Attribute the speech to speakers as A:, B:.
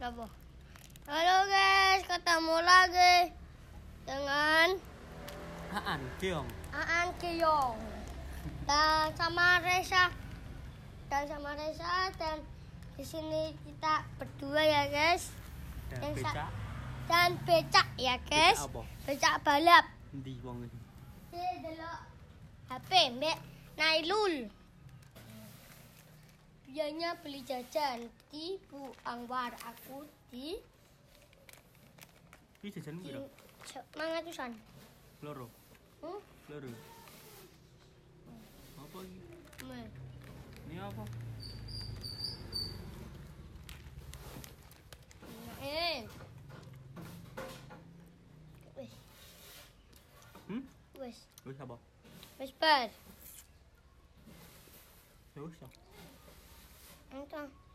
A: Apa? Halo guys, ketemu lagi dengan
B: Aan, Kiong.
A: Aan Kiyong dan sama Reza dan sama Reza dan di sini kita berdua ya guys
B: Dan
A: Yang sa-
B: becak
A: dan becak ya guys
B: Becak apa?
A: becak balap
B: ndi wong iki?
A: Ini delok HP Mbak Nailul biasanya beli jajan di Bu Angwar aku di
B: Iki jajan
A: di
B: piro?
A: mangatusan
B: Loro,
A: hmm?
B: loro. Apa iki?
A: Meh.
B: Ini apa?
A: eh wes
B: Hmm?
A: wes
B: Wis apa?
A: wes bar
B: Wis apa?
A: entah